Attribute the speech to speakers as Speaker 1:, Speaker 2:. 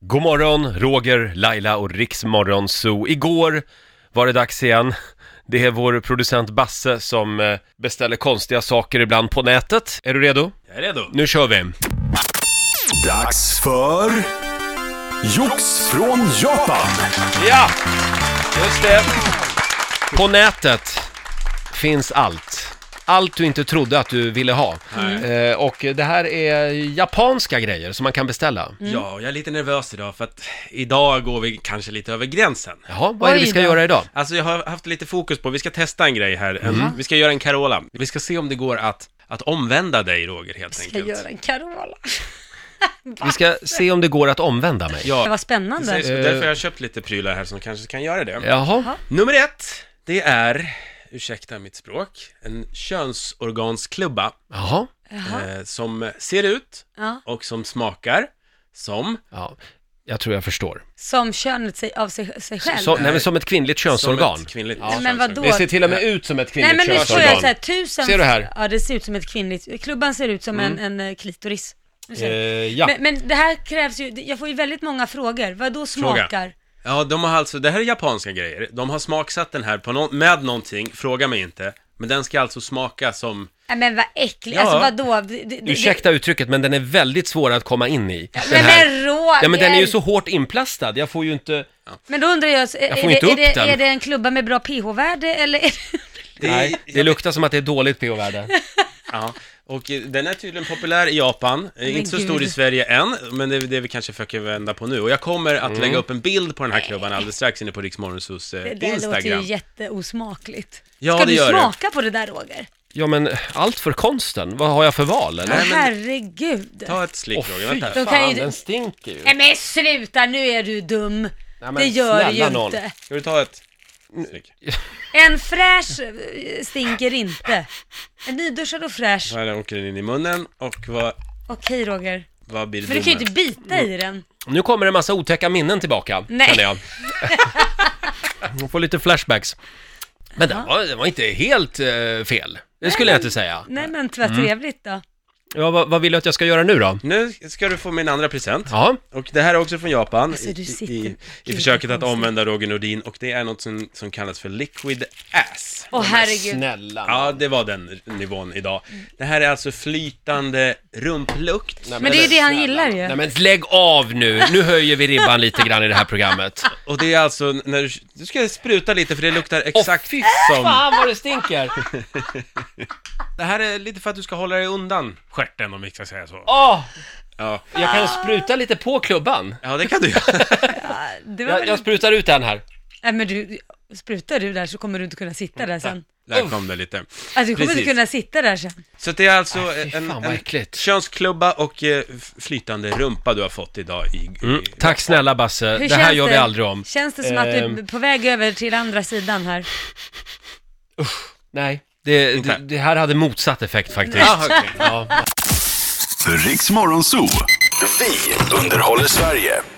Speaker 1: God morgon, Roger, Laila och Riksmorgon Zoo. Igår var det dags igen. Det är vår producent Basse som eh, beställer konstiga saker ibland på nätet. Är du redo?
Speaker 2: Jag är redo.
Speaker 1: Nu kör vi!
Speaker 3: Dags för Jox från Japan.
Speaker 2: Mm.
Speaker 1: Ja! Just det! På nätet finns allt. Allt du inte trodde att du ville ha. Eh, och det här är japanska grejer som man kan beställa.
Speaker 4: Mm.
Speaker 2: Ja, och jag är lite nervös idag för att idag går vi kanske lite över gränsen.
Speaker 1: Jaha, vad är det
Speaker 4: Oj
Speaker 1: vi ska
Speaker 4: då.
Speaker 1: göra idag?
Speaker 2: Alltså jag har haft lite fokus på, vi ska testa en grej här. En,
Speaker 3: Mm.
Speaker 2: Vi ska göra en Carola. Vi ska se om det går att, att omvända dig Roger helt
Speaker 4: Ska jag
Speaker 2: enkelt.
Speaker 4: göra en Carola?
Speaker 1: Vi ska se om det går att omvända mig.
Speaker 4: Det var
Speaker 2: Ja,
Speaker 4: spännande.
Speaker 2: precis.
Speaker 3: Eh.
Speaker 2: Därför har jag köpt lite prylar här som kanske kan göra det.
Speaker 1: Jaha.
Speaker 2: Nummer ett, det är, ursäkta mitt språk, en könsorgansklubba
Speaker 1: Jaha.
Speaker 4: Jaha.
Speaker 2: eh, som ser ut
Speaker 4: Ja.
Speaker 2: och som smakar som
Speaker 1: Ja, jag tror jag förstår.
Speaker 4: Som könet sig, av sig, sig själv.
Speaker 1: Så, nej, men som ett kvinnligt könsorgan.
Speaker 2: Som ett kvinnligt
Speaker 1: Ja.
Speaker 4: Nej, men vadå?
Speaker 1: Det ser till och med ut som ett
Speaker 4: Nej
Speaker 1: kvinnligt
Speaker 4: men nu får
Speaker 1: könsorgan.
Speaker 4: jag såhär tusen...
Speaker 1: Ser du här? Mm.
Speaker 4: Ja det ser ut som ett kvinnligt, klubban ser ut som en, en eh, klitoris. Nu ser jag.
Speaker 1: Eh, ja.
Speaker 4: Men, men det här krävs ju, jag får ju väldigt många frågor. Vad då
Speaker 2: Fråga.
Speaker 4: smakar?
Speaker 2: Ja, de har alltså, det här är japanska grejer. De har smaksatt den här på nå- med någonting, fråga mig inte. Men den ska alltså smaka som...
Speaker 4: Nej men vad äckligt,
Speaker 2: Ja.
Speaker 4: alltså vadå? Det- det- det-
Speaker 1: Ursäkta uttrycket, men den är väldigt svår att komma in i.
Speaker 4: Men, men Roger!
Speaker 1: Ja, men den är ju så hårt inplastad. Jag får ju inte...
Speaker 4: Men då undrar jag,
Speaker 1: får
Speaker 4: är,
Speaker 1: inte
Speaker 4: det, är,
Speaker 1: upp
Speaker 4: det,
Speaker 1: den.
Speaker 4: är det en klubba med bra pH-värde eller? är det-
Speaker 2: Det,
Speaker 1: Nej, det luktar som att det är dåligt pH-värde.
Speaker 2: Ja, och eh, den är tydligen populär i Japan. Eh,
Speaker 4: Men
Speaker 2: inte så
Speaker 4: gud.
Speaker 2: stor i Sverige än, men det är det vi kanske försöker vända på nu. Och jag kommer att
Speaker 1: Mm.
Speaker 2: lägga upp en bild på den här klubban alldeles strax inne på Riksmorgonsos
Speaker 4: Det
Speaker 2: eh,
Speaker 4: där låter
Speaker 2: Instagram.
Speaker 4: ju jätteosmakligt.
Speaker 2: Ja,
Speaker 4: Ska
Speaker 2: det
Speaker 4: du
Speaker 2: gör det.
Speaker 4: smaka på det där Roger?
Speaker 1: Ja, men allt för konsten. Vad har jag för val, eller?
Speaker 2: Nej, men-
Speaker 4: Herregud.
Speaker 2: Ta ett slick,
Speaker 1: Åh,
Speaker 2: Roger.
Speaker 1: fy
Speaker 2: Vänta.
Speaker 4: De kan
Speaker 1: fan,
Speaker 4: ju-
Speaker 1: den stinker ju.
Speaker 4: Nej men sluta, nu är du dum.
Speaker 1: men
Speaker 4: det gör
Speaker 1: snälla
Speaker 4: ju
Speaker 1: nån.
Speaker 4: inte.
Speaker 2: Ska du ta ett slick?
Speaker 4: En fräsch eh, stinker inte. En nyduschad och fräsch.
Speaker 2: Här åker den in i munnen och vad,
Speaker 4: Okej Roger.
Speaker 2: vad blir det
Speaker 4: Men du kan ju inte bita i den.
Speaker 1: Nu kommer en massa otäcka minnen tillbaka,
Speaker 4: Nej.
Speaker 1: känner jag. Jag får lite flashbacks. Men den var, den var inte helt eh, fel. Det skulle jag inte säga.
Speaker 4: Nej men vad
Speaker 1: Mm.
Speaker 4: trevligt då.
Speaker 1: Ja, vad, vad vill du att jag ska göra nu då?
Speaker 2: Nu ska du få min andra present.
Speaker 1: Ja,
Speaker 2: Och det här är också från Japan,
Speaker 4: Alltså, du
Speaker 2: i,
Speaker 4: sitter-
Speaker 2: i, i
Speaker 4: Gud,
Speaker 2: försöket
Speaker 4: vad
Speaker 2: att
Speaker 4: konstigt.
Speaker 2: omvända Roger Nordin, och det är något som, som kallas för liquid ass.
Speaker 4: Åh herregud.
Speaker 1: snälla.
Speaker 2: Ja, det var den nivån idag. Det här är alltså flytande rumplukt,
Speaker 4: Men det är ju det han gillar ju.
Speaker 1: Nej men lägg av nu, nu höjer vi ribban lite grann i det här programmet.
Speaker 2: och det är alltså när du, du ska spruta lite för det luktar exakt som...
Speaker 1: Fan vad det stinker!
Speaker 2: Det här är lite för att du ska hålla dig undan stjärten om vi ska säga så.
Speaker 1: Åh,
Speaker 2: Ja,
Speaker 1: jag kan spruta lite på klubban.
Speaker 2: ja det kan du göra.
Speaker 4: Det var
Speaker 1: Jag,
Speaker 4: väl...
Speaker 1: jag sprutar ut den här.
Speaker 4: Nej men du, sprutar du där så kommer du inte kunna sitta där sen.
Speaker 2: Där kom det lite.
Speaker 4: Alltså du kommer
Speaker 2: Precis.
Speaker 4: inte kunna sitta där sen.
Speaker 2: Så det är alltså
Speaker 4: Äh,
Speaker 1: Fy
Speaker 2: en,
Speaker 1: fan vad
Speaker 2: en
Speaker 1: äckligt.
Speaker 2: könsklubba och eh, f- flytande rumpa du har fått idag i...
Speaker 1: Mm, tack snälla Basse, det här
Speaker 4: känns
Speaker 1: gör vi aldrig om.
Speaker 4: Känns det som att du är
Speaker 1: Ehm.
Speaker 4: på väg över till andra sidan här?
Speaker 1: Nej, det,
Speaker 2: Inte.
Speaker 1: det, det här hade motsatt effekt faktiskt.
Speaker 2: Ja, okej.
Speaker 1: Ja.
Speaker 3: Riks Morgonzoo. Vi underhåller Sverige.